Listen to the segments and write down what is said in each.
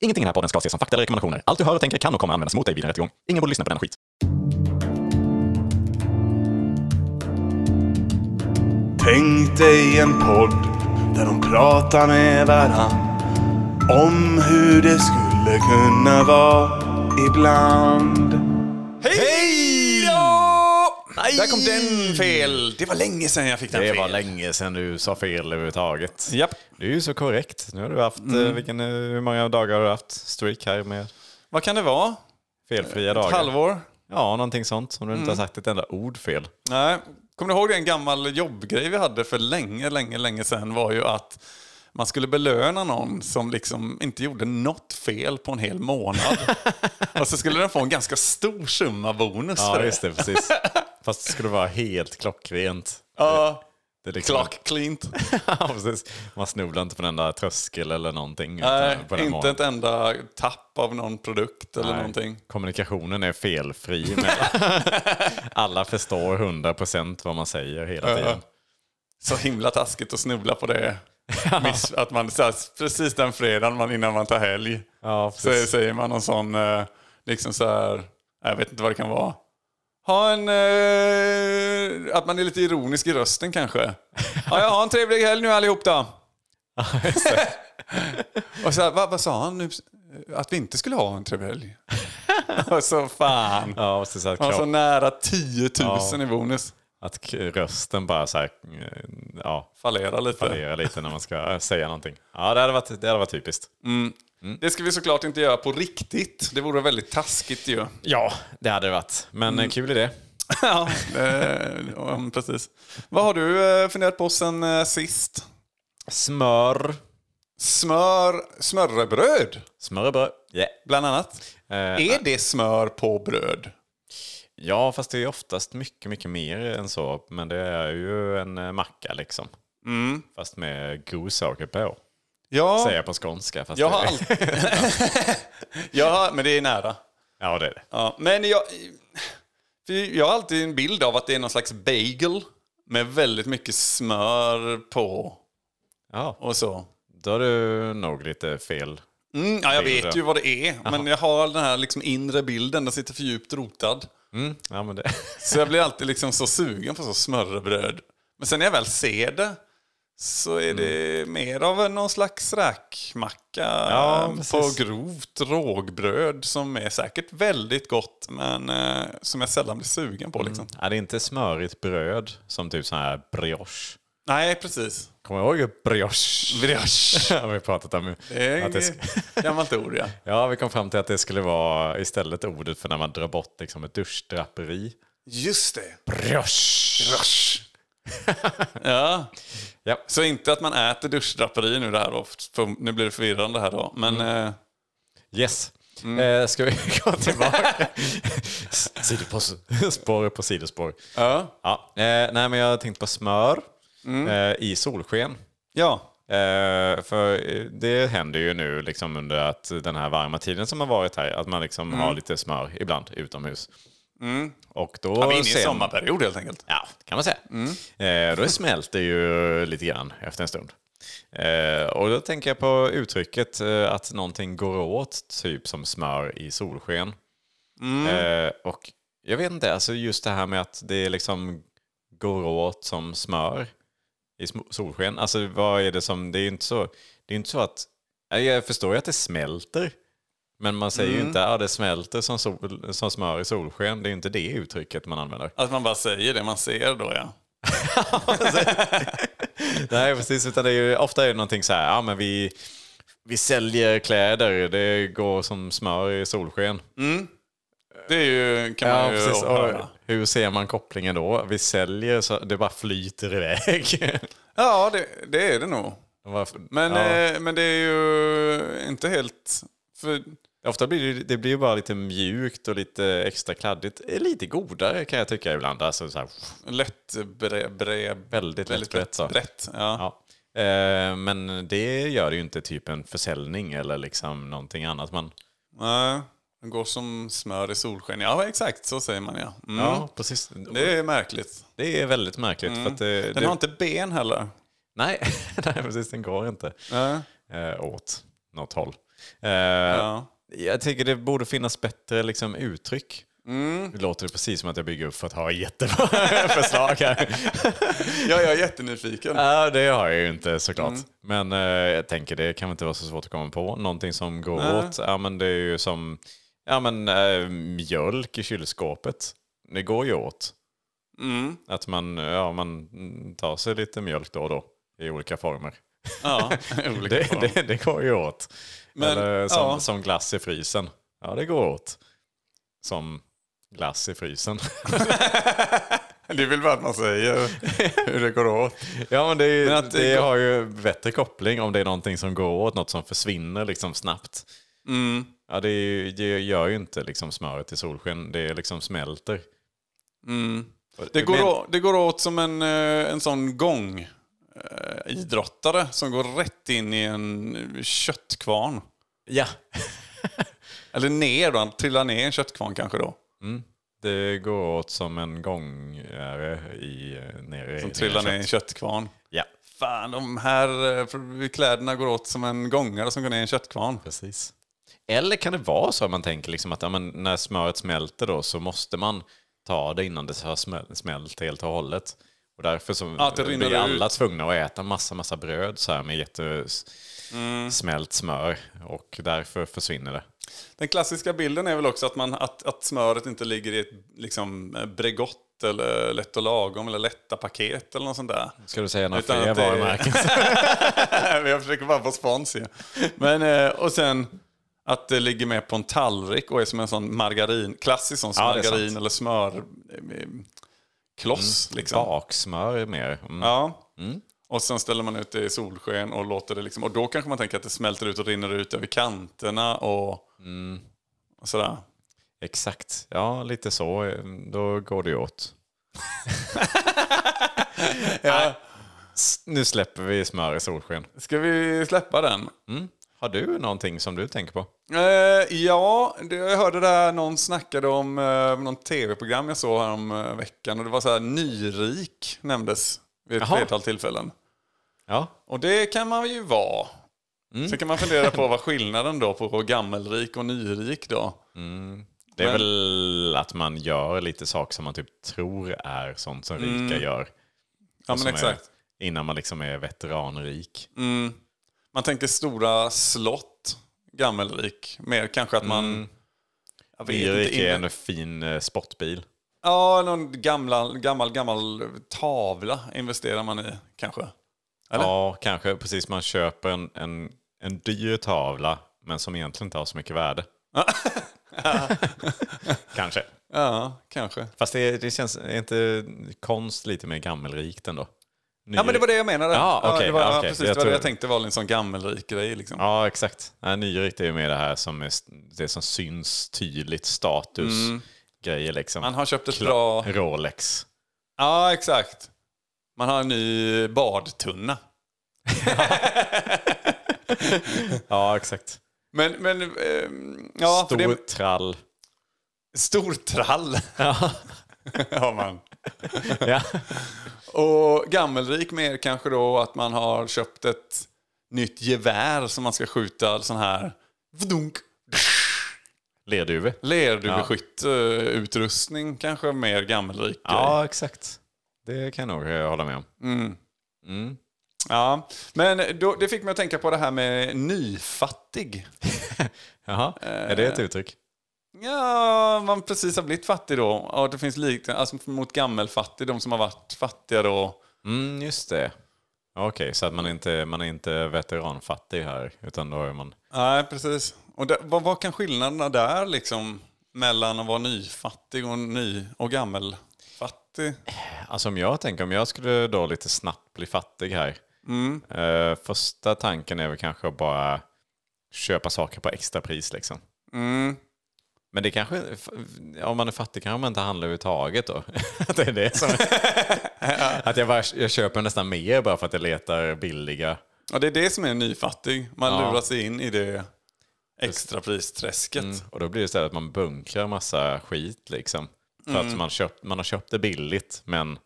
Ingenting i den här podden ska ses som fakta eller rekommendationer. Allt du hör och tänker kan och kommer användas mot dig vid en rättegång. Ingen borde lyssna på den skit. Tänk dig en podd där de pratar med varann om hur det skulle kunna vara ibland. Hej! Nej! Där kom den fel! Det var länge sedan jag fick den Det fel. var länge sedan du sa fel överhuvudtaget. Japp. Mm. Det är ju så korrekt. Nu har du haft, eh, vilken, eh, hur många dagar har du haft streak här med Vad kan det vara? felfria dagar? Ett halvår? Mm. Ja, någonting sånt. Som du inte har sagt ett enda ord fel. Nej. Kommer du ihåg det en gammal jobbgrej vi hade för länge, länge, länge sedan var ju att man skulle belöna någon som liksom inte gjorde något fel på en hel månad. Och så skulle den få en ganska stor summa bonus för Ja, det. just det. Precis. Fast det skulle vara helt klockrent. Ja, Det är liksom- Clark Clint. Ja, precis. Man snubblar inte på en enda tröskel eller någonting. utan Nej, på den inte månaden. ett enda tapp av någon produkt eller Nej. någonting. Kommunikationen är felfri. Men alla förstår 100% vad man säger hela tiden. Så himla taskigt att snubbla på det. Miss, att man så här, precis den fredagen man, innan man tar helg Ja, så precis. säger man någon sån, eh, liksom så här, jag vet inte vad det kan vara. Ha en, eh, att man är lite ironisk i rösten kanske. Ja, jag har en trevlig helg nu allihop då. Och så här, vad, vad sa han nu? Att vi inte skulle ha en trevlig helg. Och så fan. Ja, precis. Att, Han var så kropp- nära 10 000 Ja. i bonus. att k- rösten bara så här, eh, ja, Fallera lite. fallerar lite när man ska eh, säga någonting. Ja, det hade varit, det hade varit typiskt. Det ska vi såklart inte göra på riktigt. Det vore väldigt taskigt ju. Ja, det hade det varit. Men eh, kul idé. Ja, eh, om- precis. Vad har du eh, funderat på sen eh, sist? Smör. Smör, smörrebröd Smör är bra. Yeah. bland annat. Eh, Är det smör på bröd? Ja, fast det är oftast mycket, mycket mer än så. Men det är ju en eh, macka liksom. Fast med god saker på. Ja, Säger jag på skånska. Fast jag det, har alltid... ja, men det är nära. Ja, det är det. Ja, men jag, för jag har alltid en bild av att det är någon slags bagel med väldigt mycket smör på Ja, och så. då har du nog lite fel. Mm, ja, jag Bilder. vet ju vad det är, men jag har den här liksom inre bilden, den sitter för djupt rotad. Mm. Ja, men det... Så jag blir alltid liksom så sugen på så smörrebröd. Men sen när jag väl ser det så är det mer av någon slags räkmacka Ja, eh, på precis. grovt rågbröd som är säkert väldigt gott men eh, som jag sällan blir sugen på. Liksom. Ja, det är inte smörigt bröd som typ sån här brioche. Nej, precis. Kommer du ihåg brioche? Brioche! har vi pratat om. Det är Att det ett sk- gammalt ord, ja. ja, vi kom fram till att det skulle vara istället ordet för när man drar bort liksom ett duschdraperi. Just det. Brioche! Ja. Ja. Så inte att man äter duschdraperi nu det här då, för nu blir det förvirrande här då. Men eh, Yes. Eh, ska vi gå tillbaka? sidospår. Spår på sidospår. ja. Ja. Eh, nej, men jag tänkte på smör eh, i solsken. ja. Eh, för eh, det händer ju nu liksom under att den här varma tiden som har varit här, att man liksom Mm. har lite smör ibland utomhus. Och då Vi är inne i sen- sommarperiod helt enkelt. Ja, kan man säga. Eh, då smälter ju lite grann efter en stund. Eh, och då tänker jag på uttrycket eh, att någonting går åt, typ som smör i solsken. Eh, och jag vet inte, alltså just det här med att det liksom går åt som smör i sm- solsken. Alltså vad är det som, det är ju inte så, det är inte så att, Nej, jag förstår ju att det smälter. Men man säger ju inte att ah, det smälter som, sol, som smör i solsken. Det är ju inte det uttrycket man använder. Att man bara säger det man ser då ja. Nej, precis. Utan det är ju, ofta är det någonting så här, ja men vi, vi säljer kläder, det går som smör i solsken. Mm. Det är ju, kan man ju höra. Och hur ser man kopplingen då? Vi säljer så det bara flyter iväg. Ja, det, det är det nog. Varför- Men, ja. eh, men det är ju inte helt... För, Ofta blir det, ju- det blir ju bara lite mjukt och lite extra kladdigt. Eh, Lite godare kan jag tycka ibland. Alltså så här, lätt bre, bre, väldigt, väldigt lätt brett. brett. så. brett ja. Ja. Eh, Men det gör ju inte typ en försäljning eller liksom någonting annat. Man, Nej, Den går som smör i solsken. Ja, exakt så säger man ja. Mm. Ja, precis. Det är märkligt. Det är väldigt märkligt. För att det, Mm. Den det, har inte ben heller. nej, nej, precis. Den går inte Nej. eh, åt något håll. Eh, Ja. Jag tycker det borde finnas bättre liksom, uttryck. Mm. Nu låter det precis som att jag bygger upp för att ha jättebra förslag här. ja, jag är jättenyfiken. Ja, det har jag ju inte såklart. Mm. Men eh, jag tänker det kan väl inte vara så svårt att komma på. Någonting som går åt, ja men det är ju som ja, men, eh, mjölk i kylskåpet. Det går ju åt. Mm. Att man, ja, man mm, tar sig lite mjölk då och då i olika former. Ja, olika Det, former. det, det går ju åt. Men, Eller som, ja. som glass i frysen. Ja, det går åt. Som glass i frysen. Det är väl vad man säger, hur det går åt. Ja men det, Men att det, det går- har ju bättre koppling om det är någonting som går åt, något som försvinner liksom snabbt. Mm. Ja, det, är ju, det gör ju inte liksom smöret i solsken, det liksom smälter. Mm. Det, går Men- å, det går åt som en, eh, en sån gång eh, idrottare som går rätt in i en köttkvarn. Ja. Eller ner då, han trillar ner i en köttkvarn kanske då. Det går åt som en gångare i, eh, nere Som i trillar nere ner i i en kött. köttkvarn. Ja, Fan, de här eh, för- kläderna går åt som en gångare som går ner i en köttkvarn. precis. Eller kan det vara så att man tänker liksom att ja, men när smöret smälter då så måste man ta det innan det har smäl- smält helt och hållet. Och därför så Ja, att det rinner blir alla ut. tvungna att äta massa, massa bröd så här med Mm. jättesmält smör. Och därför försvinner det. Den klassiska bilden är väl också att, man, att, att smöret inte ligger i ett liksom, eh, Bregott eller Lätt och lagom eller lätta paket eller något sånt där. Ska du säga några Utan fler att det- varumärken? Men jag försöker bara få spons ju. Men, eh, och sen att det ligger med på en tallrik och är som en sån margarin, klassisk sån Ja, det är margarin sant. eller smör eh, eh, kloss liksom. Baksmör mer. Mm. Ja. Och sen ställer man ut det i solsken och låter det liksom, och då kanske man tänker att det smälter ut och rinner ut över kanterna och, Mm. och sådär. Exakt, ja lite så. eh, Då går det ju åt. Nej, s- Nu släpper vi smör i solsken. Ska vi släppa den? Mm. Har du någonting som du tänker på? Eh, ja, det, jag hörde där någon snackade om eh, någon tv-program jag såg här om eh, veckan och det var så här nyrik nämndes vid ett Jaha. flertal tillfällen. Ja, Och det kan man ju vara. Mm. Sen kan man fundera på vad skillnaden då på gammelrik och nyrik då. det är Men- väl att man gör lite saker som man typ tror är sånt som Mm. rika gör. Ja men Som är- exakt. Innan man liksom är veteranrik. Mm. Man tänker stora slott, gammelrik. Mer kanske att man... Jag vet Mm. Nyrik inte, är inne- en fin eh, sportbil. Ja, någon gamla, gammal, gammal tavla investerar man i kanske. Eller? Ja, kanske precis. Man köper en, en, en dyr tavla men som egentligen inte har så mycket värde. kanske. Ja, kanske. Fast det, det känns, är inte konst lite mer gammelrikt ändå? Ny... Ja, men det var det jag menade. Ja, okej, det var, ja, okej. precis. Jag det var tror- det jag tänkte var en sån gammelrik grej. Liksom. Ja, exakt. Ja, nyrikt är ju mer det här som, är, det som syns tydligt, status, grejer liksom. Mm. Man har köpt ett Kla- bra... Rolex. Ja, exakt. Man har en ny badtunna. Ja, exakt. Men, men... ehm, Ja, Stor för det... trall. Stor trall Ja. har man. ja. Och gammelrik mer kanske då att man har köpt ett nytt gevär som man ska skjuta sån här... Vdunk! Lerduve. Lerduveskytteutrustning eh, kanske mer gammelrik grej. Ja, exakt. Det kan jag nog eh, hålla med om. Ja, men då, det fick mig att tänka på det här med nyfattig. Jaha, är det ett uttryck? Ja, man precis har blivit fattig då. Och det finns likt, alltså mot gammelfattig, de som har varit fattiga då. Mm, just det. Okej, så att man inte, man är inte veteranfattig här, utan då är man... Nej, precis. Och där, vad, vad kan skillnaderna där liksom mellan att vara nyfattig och ny och gammelfattig? Alltså om jag tänker, om jag skulle då lite snabbt bli fattig här. Eh, första tanken är väl kanske att bara köpa saker på extrapris liksom. Mm. Men det kanske, om man är fattig kanske man inte handlar överhuvudtaget då. Att det är det som... att jag, bara, jag köper nästan mer bara för att jag letar billiga. Ja, det är det som är nyfattig. Man Ja. lurar sig in i det extrapristräsket. Och då blir det istället att man bunkrar massa skit liksom. För Mm. att man, köpt, man har köpt det billigt men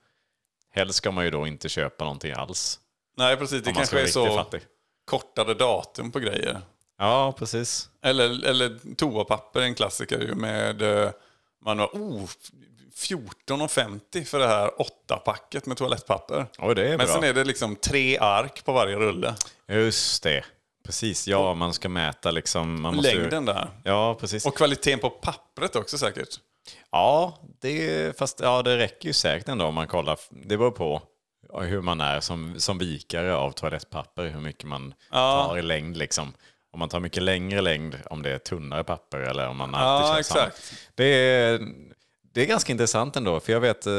helst ska man ju då inte köpa någonting alls. Nej, precis. Det Om man ska kanske vara är riktigt så fattig. kortare datum på grejer. Ja, precis. Eller, eller toapapper är en klassiker ju med... eh, Man var oh, 14,50 för det här åtta packet med toalettpapper. Oj, det är Men bra. sen är det liksom tre ark på varje rulle. Just det. Precis, ja man ska mäta liksom. Man måste ju- Längden där. Ja, precis. Och kvaliteten på pappret också säkert. Ja, det, fast ja, det räcker ju säkert ändå om man kollar. Det beror på hur man är som, som vikare av toalettpapper, hur mycket man tar i längd liksom. Om man tar mycket längre längd, om det är tunnare papper eller om man alltid Ja, känns samma. exakt. Det är, det är ganska intressant ändå, för jag vet, eh,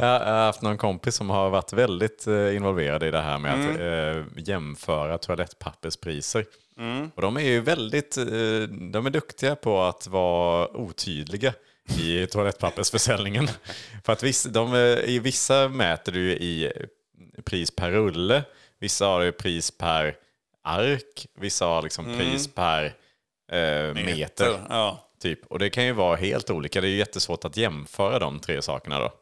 jag har haft någon kompis som har varit väldigt eh, involverad i det här med att Mm. eh, jämföra toalettpapperspriser. Och de är ju väldigt, eh, de är duktiga på att vara otydliga i toalettpappersförsäljningen. för att vissa, de, eh, i vissa mäter du ju i pris per rulle, vissa har det pris per ark, vissa har liksom pris per eh, meter. Ja. Typ. Och det kan ju vara helt olika. Det är ju jättesvårt att jämföra de tre sakerna då.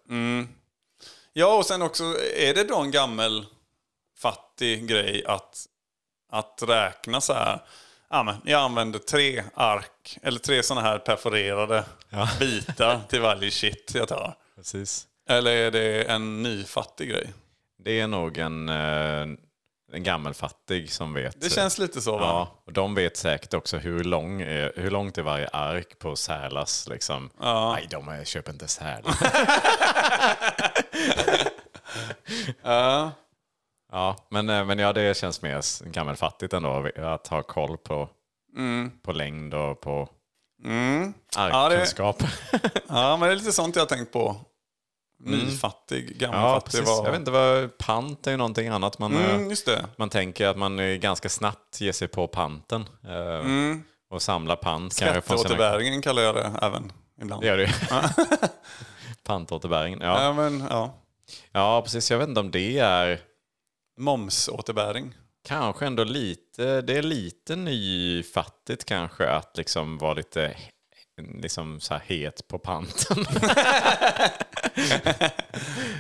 ja, och sen också, är det då en gammal fattig grej att, att räkna så här. Ja, men jag använder tre ark, eller tre sådana här perforerade bitar till varje shit jag tar. Precis. Eller är det en nyfattig grej? Det är nog en, eh, en gammelfattig som vet. Det känns lite så va? Ja, och de vet säkert också hur, lång är, hur långt är varje ark på Särlas. Liksom. Nej, de är- köper inte Särlas. Ja. ja, men, eh, men ja, det känns mer s- gammelfattigt ändå att ha koll på, på längd och på Mm. Ja, det- arkkunskap. Ja, men det är lite sånt jag har tänkt på. Nyfattig, Mm. Ja, gammalfattig. precis. vad- Jag vet inte vad pant är ju någonting annat man... eh, Mm, just det. Man tänker att man eh, ganska snabbt ger sig på panten eh, Mm. och samlar pant. kanske från sina- Skatteåterbäringen kallar jag det även ibland. Det gör du ju. Pantåterbäringen, ja. Ja, men, ja. Ja, precis. Jag vet inte om det är Momsåterbäring. kanske ändå lite, det är lite nyfattigt kanske att liksom vara lite liksom så här het på panten.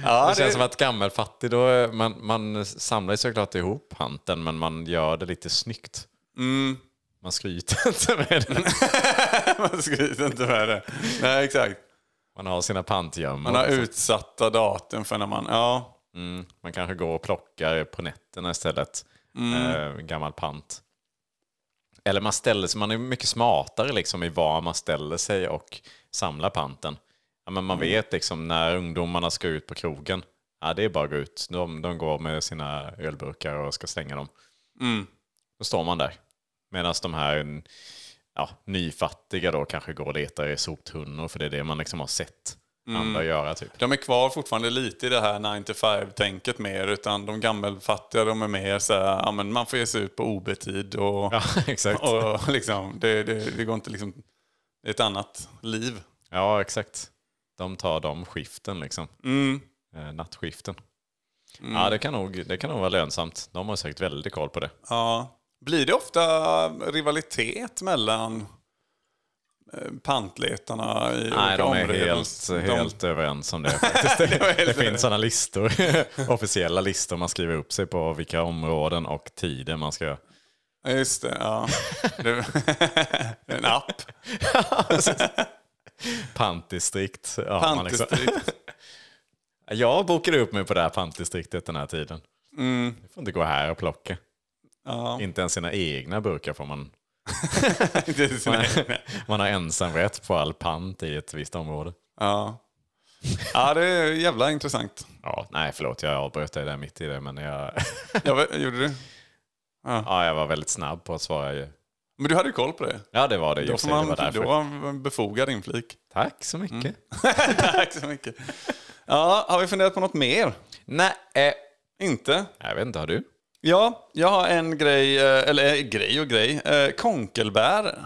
Ja, det känns som att gammelfattig, då är, man, man samlar ju såklart ihop panten men man gör det lite snyggt. Mm. Man skryter inte med det. man skryter inte med det. Nej, exakt. Man har sina pantgömmor. Man har utsatta datum för när man... Ja, Mm, man kanske går och plockar på nätterna istället. Eh, gammal pant. Eller man ställer sig, man är mycket smartare liksom i var man ställer sig och samlar panten. Ja, men man vet liksom när ungdomarna ska ut på krogen. Ja, det är bara att gå ut. De, de går med sina ölburkar och ska slänga dem. Då står man där. Medan de här ja, nyfattiga då kanske går och letar i soptunnor för det är det man liksom har sett andra göra typ. de är kvar fortfarande lite i det här 9 to 5-tänket mer. Utan de gammelfattiga, de är mer så här, ja, men man får ge sig ut på OB-tid. Och, Ja, exakt. och liksom, det, det, det går inte liksom... Det är ett annat liv. Ja, exakt. De tar de skiften liksom. Mm. Eh, nattskiften. Ja, det kan, nog, det kan nog vara lönsamt. De har säkert väldigt koll på det. Ja. Blir det ofta rivalitet mellan eh, pantletarna Nej, i olika de är områden? helt, De- helt överens om det. faktiskt. det finns sådana listor. Officiella listor man skriver upp sig på vilka områden och tider man ska... Ja, Just det, ja. Det- en app. Pantdistrikt. Ja, man liksom. Pantdistrikt. Jag bokade upp mig på det här pantdistriktet den här tiden. Du får inte gå här och plocka. Mm. Ja. Inte ens sina egna burkar får man Det är sina egna. Man har ensamrätt på all pant i ett visst område. ja. ja, det är jävla intressant. Ja, nej förlåt, jag avbröt dig där mitt i det, men jag, Jag vet, gjorde du? ja, jag var väldigt snabb på att svara. ju. Men du hade ju koll på det. Ja, det var det. Då Just får det, det man, var då Mm. därför. var en befogad inflik. Tack så mycket. Tack så mycket. Ja, har vi funderat på något mer? Nej, eh, Inte? jag vet inte, har du? Ja, jag har en grej, eh, eller eh, grej och grej. Eh, Konkelbär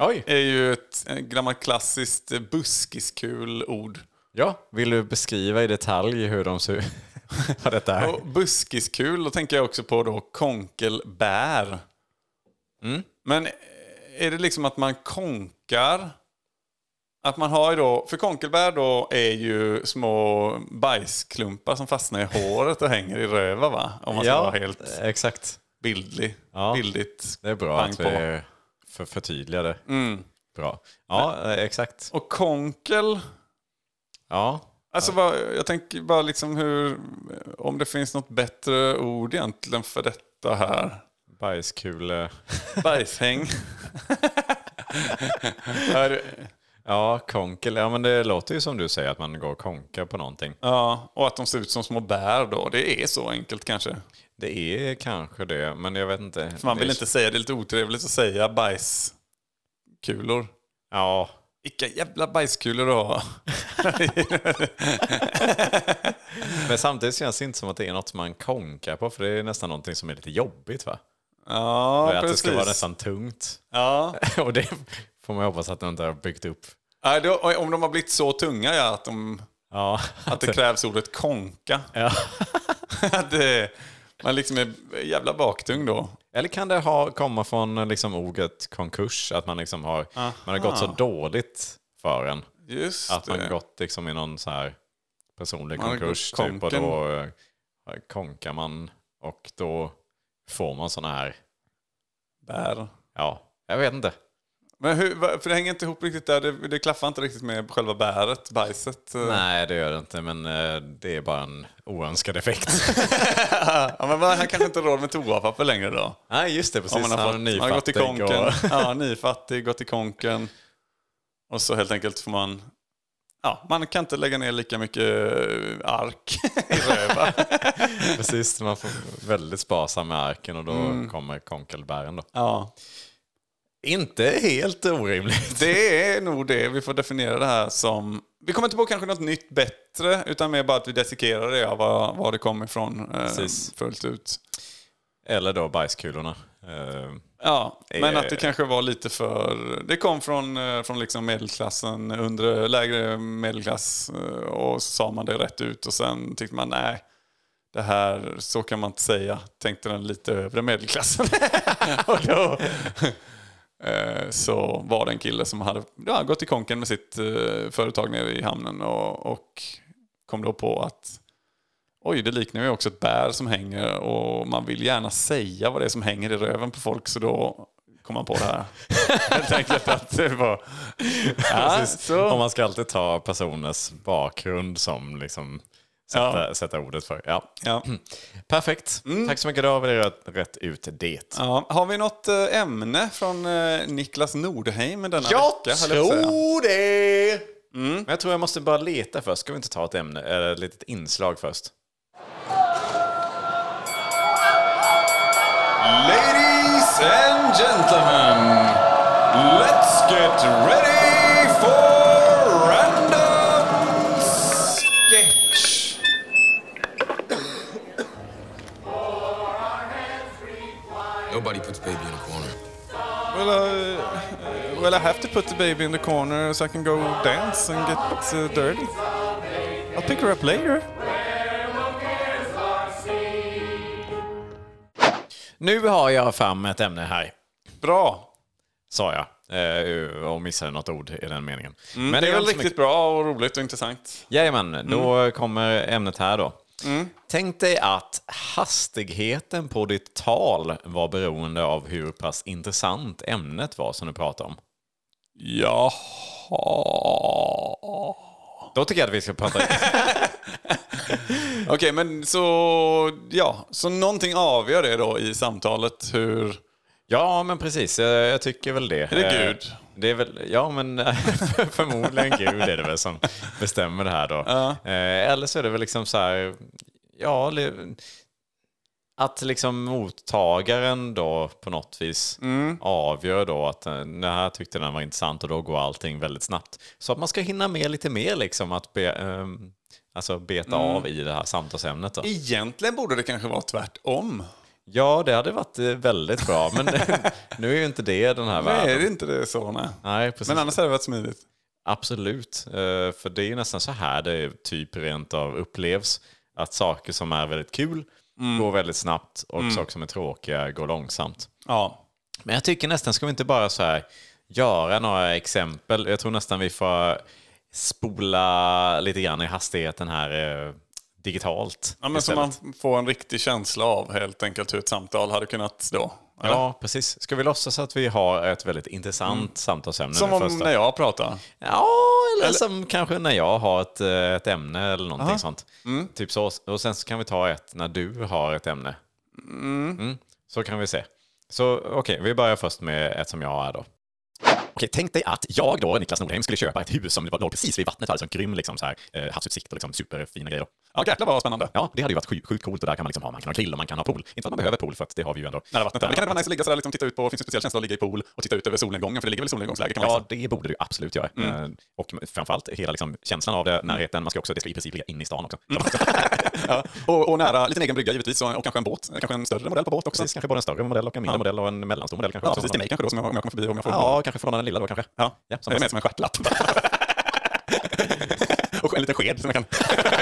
Oj! är ju ett eh, gammalt klassiskt eh, buskiskul ord. Ja, vill du beskriva i detalj hur de ser ut? Vad detta är? Och buskiskul, då tänker jag också på då konkelbär. Men eh, är det liksom att man konkar? Att man har ju då, för konkelbär då är ju små bajsklumpar som fastnar i håret och hänger i röva va? Om man ska vara helt... exakt. bildlig. Eh, Ja. Bildligt. Det är bra Pang att på. Mm. vi för, förtydligade. Bra. Ja, eh, exakt. Och konkel. Ja. Alltså vad, jag tänker bara liksom hur, om det finns något bättre ord egentligen för detta här. Bajskule. Bajshäng. Här- Ja, konkel. Ja, men det låter ju som du säger att man går och konkar på någonting. ja, och att de ser ut som små bär då. Det är så enkelt kanske. Det är kanske det, men jag vet inte. För man vill Det är- inte säga, det är lite otrevligt att säga bajskulor. Ja. Vilka jävla bajskulor du har. Men samtidigt känns det inte som att det är något man konkar på, för det är nästan någonting som är lite jobbigt va? Ja, att precis. det ska vara nästan tungt. ja. och det får man hoppas att de inte har byggt upp. Nej, då, om de har blivit så tunga ja, att, de, Ja, att det krävs ordet konka. Alltså- ja. Att det, man liksom är jävla baktung då. Eller kan det ha, komma från liksom ordet konkurs? Att man, liksom har, man har gått så dåligt för en. Just Att man det. gått liksom i någon så här personlig Man har konkurs. gått Typ, och konken. då eh, konkar man och då får man sådana här, Bär. ja, jag vet inte. Men hur, va- för det hänger inte ihop riktigt där. Det, det klaffar inte riktigt med själva bäret, bajset. Nej, det gör det inte, men eh, det är bara en oönskad effekt. Ja, men man, han kanske inte har råd med toapapper längre då. Nej, just det, precis. Om man har, fått, man har gått i konken. Ja, nyfattig, gått i konken. Och så helt enkelt får man... Ja, man kan inte lägga ner lika mycket eh, ark i röva. Precis, man får väldigt sparsam med arken och då Mm. kommer konkelbären då. Ja. Inte helt orimligt. Det är nog det vi får definiera det här som. Vi kommer inte på kanske något nytt bättre utan mer bara att vi dissekerar det av var, var det kommer ifrån eh, Precis. fullt ut. Eller då bajskulorna. Eh, Ja, men Eh. att det kanske var lite för... Det kom från, eh, från liksom medelklassen, undre, lägre medelklass eh, och så sa man det rätt ut och sen tyckte man nej, det här, så kan man inte säga, tänkte den lite övre medelklassen. och då, eh, så var det en kille som hade ja, gått i konken med sitt eh, företag nere i hamnen och, och kom då på att Oj, det liknar ju också ett bär som hänger och man vill gärna säga vad det är som hänger i röven på folk så då kom man på det här. Helt enkelt att det var... Ja, precis. Och så. man ska alltid ta personers bakgrund som liksom sätta, sätta ordet för. Ja. Ja. Perfekt. Mm. Tack så mycket. Då har vi rätt, rätt ut det. Ja. Har vi något eh, ämne från eh, Niklas Nordheim denna vecka? höll jag på att säga? Mm. tror det! Men jag tror jag måste bara leta först. Ska vi inte ta ett ämne, eller ett litet inslag först? Ladies and gentlemen, let's get ready for random sketch. Nobody puts baby in a corner. Well, uh, well, I have to put the baby in the corner so I can go dance and get uh, dirty. I'll pick her up later. Nu har jag fram ett ämne här, Bra. sa jag. Eh, och missade något ord i den meningen. Men Mm, Det gör är väl inte så mycket. riktigt Mm. bra och roligt och intressant. Jajamän, då kommer ämnet här då. Mm. Tänk dig att hastigheten på ditt tal var beroende av hur pass intressant ämnet var som du pratade om. Jaha. Då tycker jag att vi ska prata... Okej, men så... Ja, så någonting avgör det då i samtalet hur... ja, men precis. Jag, jag tycker väl det. Är det Eh, Gud? Det är väl, ja, men eh, förmodligen Gud är det väl som bestämmer det här då. Eh, eller så är det väl liksom så här, ja, li- att liksom mottagaren då på något vis Mm. avgör då att eh, det här tyckte den var intressant och då går allting väldigt snabbt. Så att man ska hinna med lite mer liksom att be, ehm, alltså beta Mm. av i det här samtalsämnet. Då. Egentligen borde det kanske vara tvärtom. Ja, det hade varit eh, väldigt bra, men nu är ju inte det den här Nej, är världen. det inte det så? Nej. Nej, precis. Men annars hade det varit smidigt. Absolut, Eh, för det är ju nästan så här det typ rent av upplevs. Att saker som är väldigt kul Mm. går väldigt snabbt och saker som är tråkiga går långsamt. Ja. Men jag tycker nästan, ska vi inte bara så här göra några exempel? Jag tror nästan vi får spola lite grann i hastigheten här eh, digitalt. Ja, men som istället. man får en riktig känsla av helt enkelt hur ett samtal hade kunnat då. eller? Mm. Ja, precis. Ska vi låtsas att vi har ett väldigt intressant samtalsämne? som nu om först då? när jag pratar. Ja, eller, som kanske när jag har ett, eh, ett ämne eller någonting sånt. Typ så. Och sen så kan vi ta ett när du har ett ämne. Mm, Så kan vi se. Så okej, vi börjar först med ett som jag har här då. Okej, tänk dig att jag då, Niklas Nordheim, skulle köpa ett hus som låg precis vid vattnet och hade sån grym liksom, så här, eh, havsutsikt och liksom, superfina grejer. Ja, jäklar vad spännande. Ja, det hade ju varit sjukt sjukt coolt och där kan man liksom ha, man kan ha grill och man kan ha pool. Inte för att man behöver pool för att det har vi ju ändå. Nära vattnet. där. Men kan det vara nice att ligga sådär, liksom, titta ut på, finns det en speciell känsla att ligga i pool och titta ut över solnedgången? För det ligger väl i solnedgångsläge? Kan man Ja, säga. det borde du absolut göra. Mm. Eh, Och framförallt hela liksom, känslan av det, närheten. Man ska också, det ska i princip ligga inne i stan också. Mm. och, och nära, lite egen brygga givetvis, och, och kanske en båt. Kanske en större modell på båt också. Precis, kanske både en större modell och en mindre modell och en mellanstor modell kanske. Ja, också. precis till mig kanske då, som jag, om jag kommer förbi om jag får Ja, kanske från den lilla då kanske. Ja, Ja, som det är mer sagt. som en stjärtlapp. och en liten sked som jag kan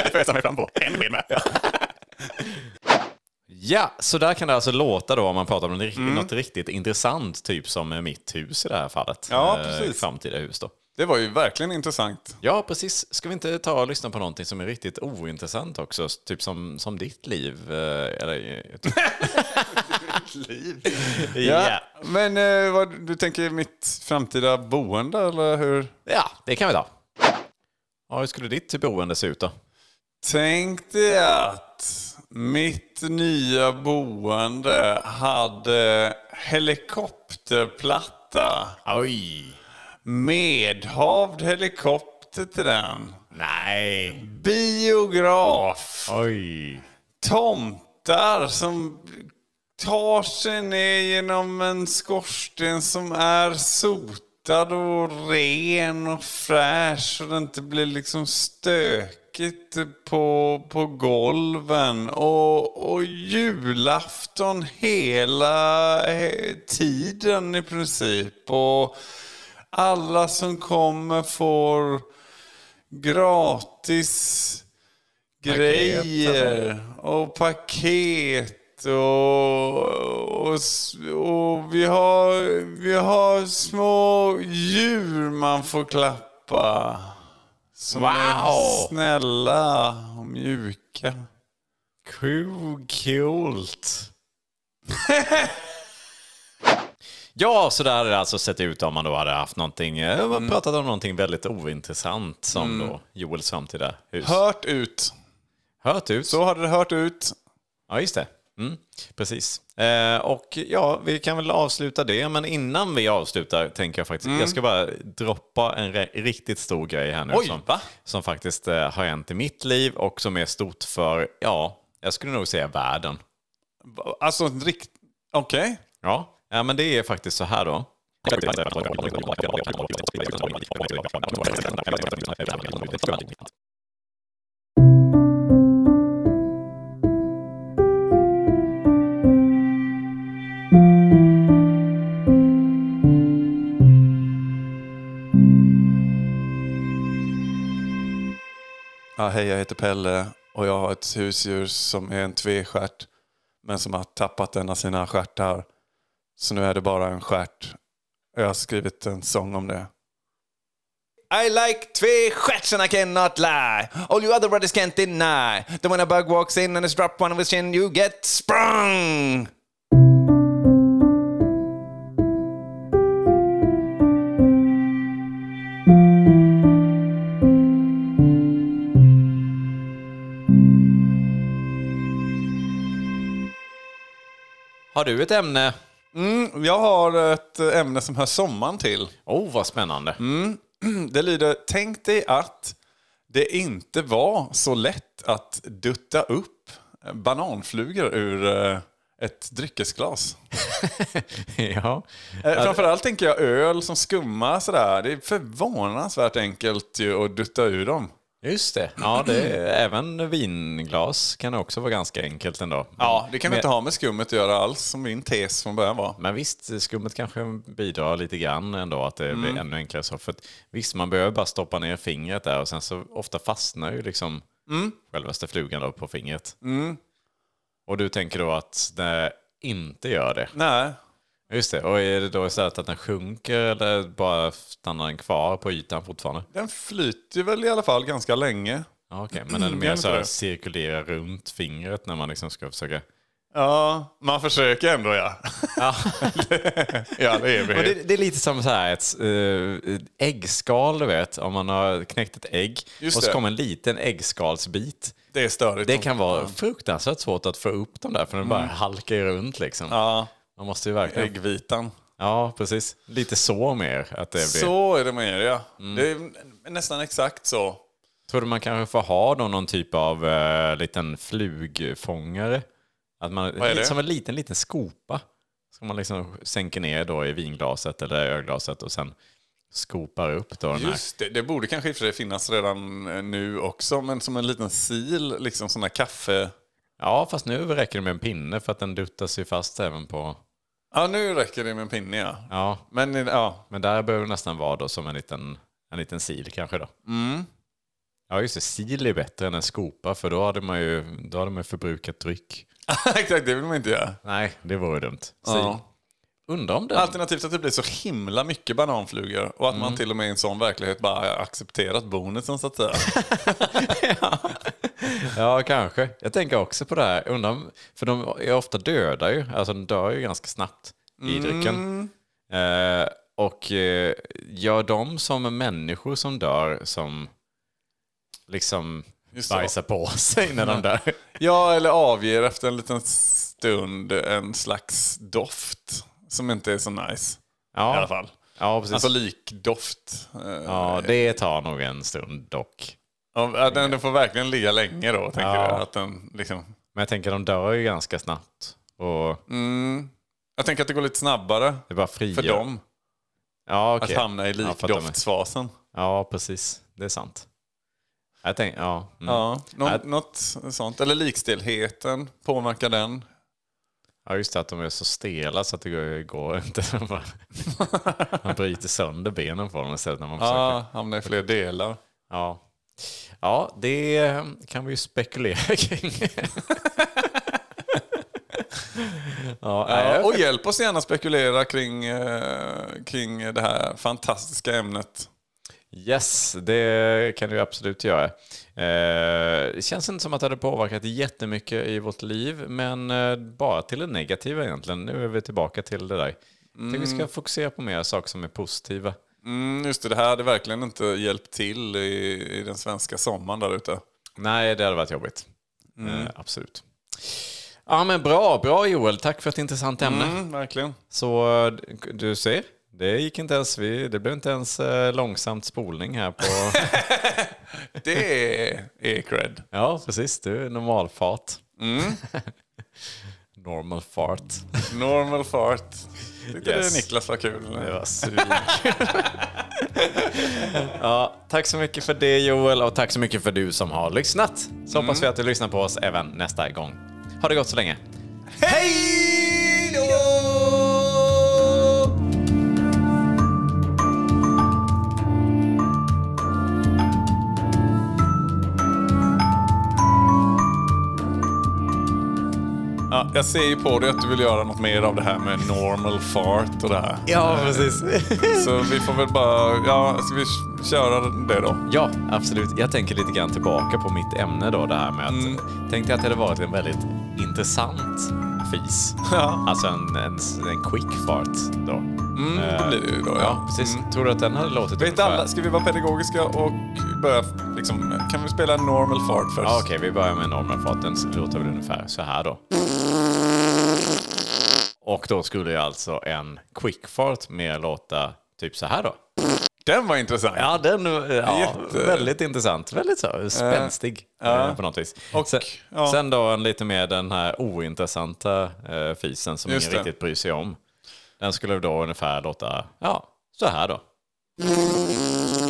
fösa mig fram på. En sked med. Ja, så där kan det alltså låta då om man pratar om en, mm. något riktigt intressant, typ som eh, mitt hus i det här fallet. Ja, Eh, precis. Framtida hus då. Det var ju verkligen intressant. Ja, precis. Ska vi inte ta och lyssna på någonting som är riktigt ointressant också? Typ som, som ditt liv? eh, Eller, eh, typ. liv? Ja. Men eh, vad, du tänker mitt framtida boende eller hur? ja, det kan vi ta. Ja, hur skulle ditt boende se ut då? Tänkte att mitt nya boende hade helikopterplatta. Oj! Medhavd helikopter till den. Nej! Biograf. Oj! tomtar som tar sig ner genom en skorsten som är sotad och ren och fräsch så det inte blir liksom stökigt på, på golven. Och, och julafton hela eh, tiden i princip. Och alla som kommer får gratis grejer och paket och, och, s- och vi, har, vi har små djur man får klappa. Som är Wow! snälla och mjuka. Coolt! ja, så där hade det alltså sett ut om man då hade haft någonting, eh, man pratat om någonting väldigt ointressant som då Joels framtida hus. Hört ut. Hört ut. Så hade det hört ut. Ja, just det. Mm, precis. Eh, och ja, vi kan väl avsluta det, men innan vi avslutar tänker jag faktiskt, jag ska bara droppa en re- riktigt stor grej här nu Oj, som, va? som faktiskt eh, har hänt i mitt liv och som är stort för, ja, jag skulle nog säga världen. Alltså rikt... Okej. Ja, ja men det är faktiskt så här då. Ja, hej, jag heter Pelle och jag har ett husdjur som är en tvestjärt men som har tappat en av sina stjärtar. Så nu är det bara en stjärt. Jag har skrivit en sång om det. I like three quets and I cannot lie. All you other brothers can't deny. Then when a bug walks in and has dropped one of his chin, you get sprung. Har du ett ämne? Mm, jag har ett ämne som hör sommaren till. Oh, vad spännande. Det lyder Tänk dig att det inte var så lätt att dutta upp bananflugor ur eh, ett dryckesglas. ja. Eh, Framförallt tänker jag öl som skummar sådär. Det är förvånansvärt enkelt ju att dutta ur dem. Just det. Ja, det är, även vinglas kan också vara ganska enkelt ändå. Ja, Mm. det kan vi inte ha med skummet att göra alls, som min tes från början var. Men visst, skummet kanske bidrar lite grann ändå att det blir ännu enklare så. För att, visst, man behöver bara stoppa ner fingret där och sen så ofta fastnar ju liksom självaste flugan då på fingret. Och du tänker då att det inte gör det. Nej. Just det, och är det då istället att den sjunker eller bara stannar den kvar på ytan fortfarande? Den flyter väl i alla fall ganska länge. Ja, Okej, men är det Gör mer inte så här det? cirkulera runt fingret när man liksom ska försöka... Ja, man försöker ändå ja. ja, det är vi. Och det, det är lite som så här ett eh, ett äggskal, du vet. Om man har knäckt ett ägg Just och så det. kommer en liten äggskalsbit. det är störigt. Det kan vara fruktansvärt svårt att få upp dem där, för de bara halkar ju runt liksom. Mm. Ja, Man måste ju verkligen... äggvitan. Ja, precis. Lite så mer. Att det blir... Så är det mer ja. Det är nästan exakt så. Tror du man kanske får ha då någon typ av eh, liten flugfångare? Att man, Vad är det? Som en liten, liten skopa. Som man liksom sänker ner då i vinglaset eller ölglaset och sen skopar upp då den här. Just det, det borde kanske i och för sig finnas redan eh, nu också, men som en liten sil, liksom sån här kaffe... Ja, fast nu räcker det med en pinne för att den duttas ju fast även på... Ja, nu räcker det med en pinne ja. Ja, Men eh, ja, men där behöver det nästan vara då som en liten, en liten sil kanske då. Ja, just det. Sil är bättre än en skopa för då hade man ju, då hade man ju förbrukat dryck. exakt det vill man inte göra. Nej, det vore dumt. Sil. Ja. Undrar om den... Alternativt att det blir så himla mycket bananflugor och att man till och med i en sån verklighet bara har accepterat bonusen så att säga. Ja, kanske. Jag tänker också på det här. Undrar, om- för de är ofta döda ju. Alltså de dör ju ganska snabbt i drycken. Eh, och eh, gör de som människor som dör som liksom Just så. bajsar på sig när de dör? Ja, eller avger efter en liten stund en slags doft som inte är så nice. Ja, I alla fall. Ja, precis. Alltså likdoft. Eh, ja, det tar nog en stund dock. ja, den, den får verkligen ligga länge då, tänker Ja. jag. Att den, liksom, Men jag tänker de dör ju ganska snabbt. Och Mm. jag tänker att det går lite snabbare det bara frigör. för dem Ja, att okej. hamna i Ja, Mm. för att de är- likdoftsfasen. Ja, precis. Det är sant. Jag tänker, ja. Mm. Ja, nå, Nej. något sånt. Eller likstelheten, påverkar den? Ja just det, att de är så stela så att det går, går inte. De bara- Man bryter sönder benen på dem istället när man försöker. Ja, Ah, hamnar i fler delar. Ja. ja, det kan vi ju spekulera kring. ja, nej, Ja, jag- och hjälp oss gärna spekulera kring, eh, kring det här fantastiska ämnet. yes, det kan du absolut göra. Eh, det känns inte som att det hade påverkat jättemycket i vårt liv, men eh, bara till det negativa egentligen. Nu är vi tillbaka till det där. Jag tycker vi ska fokusera på mer saker som är positiva. Mm, just det, det här hade verkligen inte hjälpt till i, i den svenska sommaren där ute. Nej, det hade varit jobbigt. Eh, absolut. Ja, men bra, bra Joel. Tack för ett intressant ämne. Mm, verkligen. Så eh, du ser, det gick inte ens, vi, det blev inte ens eh, långsamt spolning här på... Det är, är cred. ja, Mm. precis. Du är normalfart. Normal fart. Normal fart. Tyckte Yes. det Niklas var kul. Det var svinkul. ja, tack så mycket för det Joel och tack så mycket för du som har lyssnat. Så hoppas vi att du lyssnar på oss även nästa gång. Ha det gott så länge. Ja, jag ser ju på dig att du vill göra något mer av det här med normal fart och det här. Ja, precis. Så vi får väl bara, ja, ska vi k- köra det då? Ja, absolut. Jag tänker lite grann tillbaka på mitt ämne då, det här med att... Tänk dig att det hade varit en väldigt intressant fis. Ja. Alltså en, en, en quick fart då. Mm, det blir det ju då, ja. Ja, precis. Tror du att den hade låtit Vet alla, ska vi vara pedagogiska och börja liksom, kan vi spela normal fart först? Ja, Ah, okej, vi börjar med normalfarten. Så låter väl ungefär så här då. Och då skulle ju alltså en quickfart mer låta typ så här då. Den var intressant. Ja, den eh, ja, Jätte- väldigt intressant. Väldigt så spänstig eh, på något vis. Och, sen, ja. sen då en lite mer den här ointressanta eh, fisen som Just ingen det. riktigt bryr sig om. Den skulle då ungefär låta ja, så här då.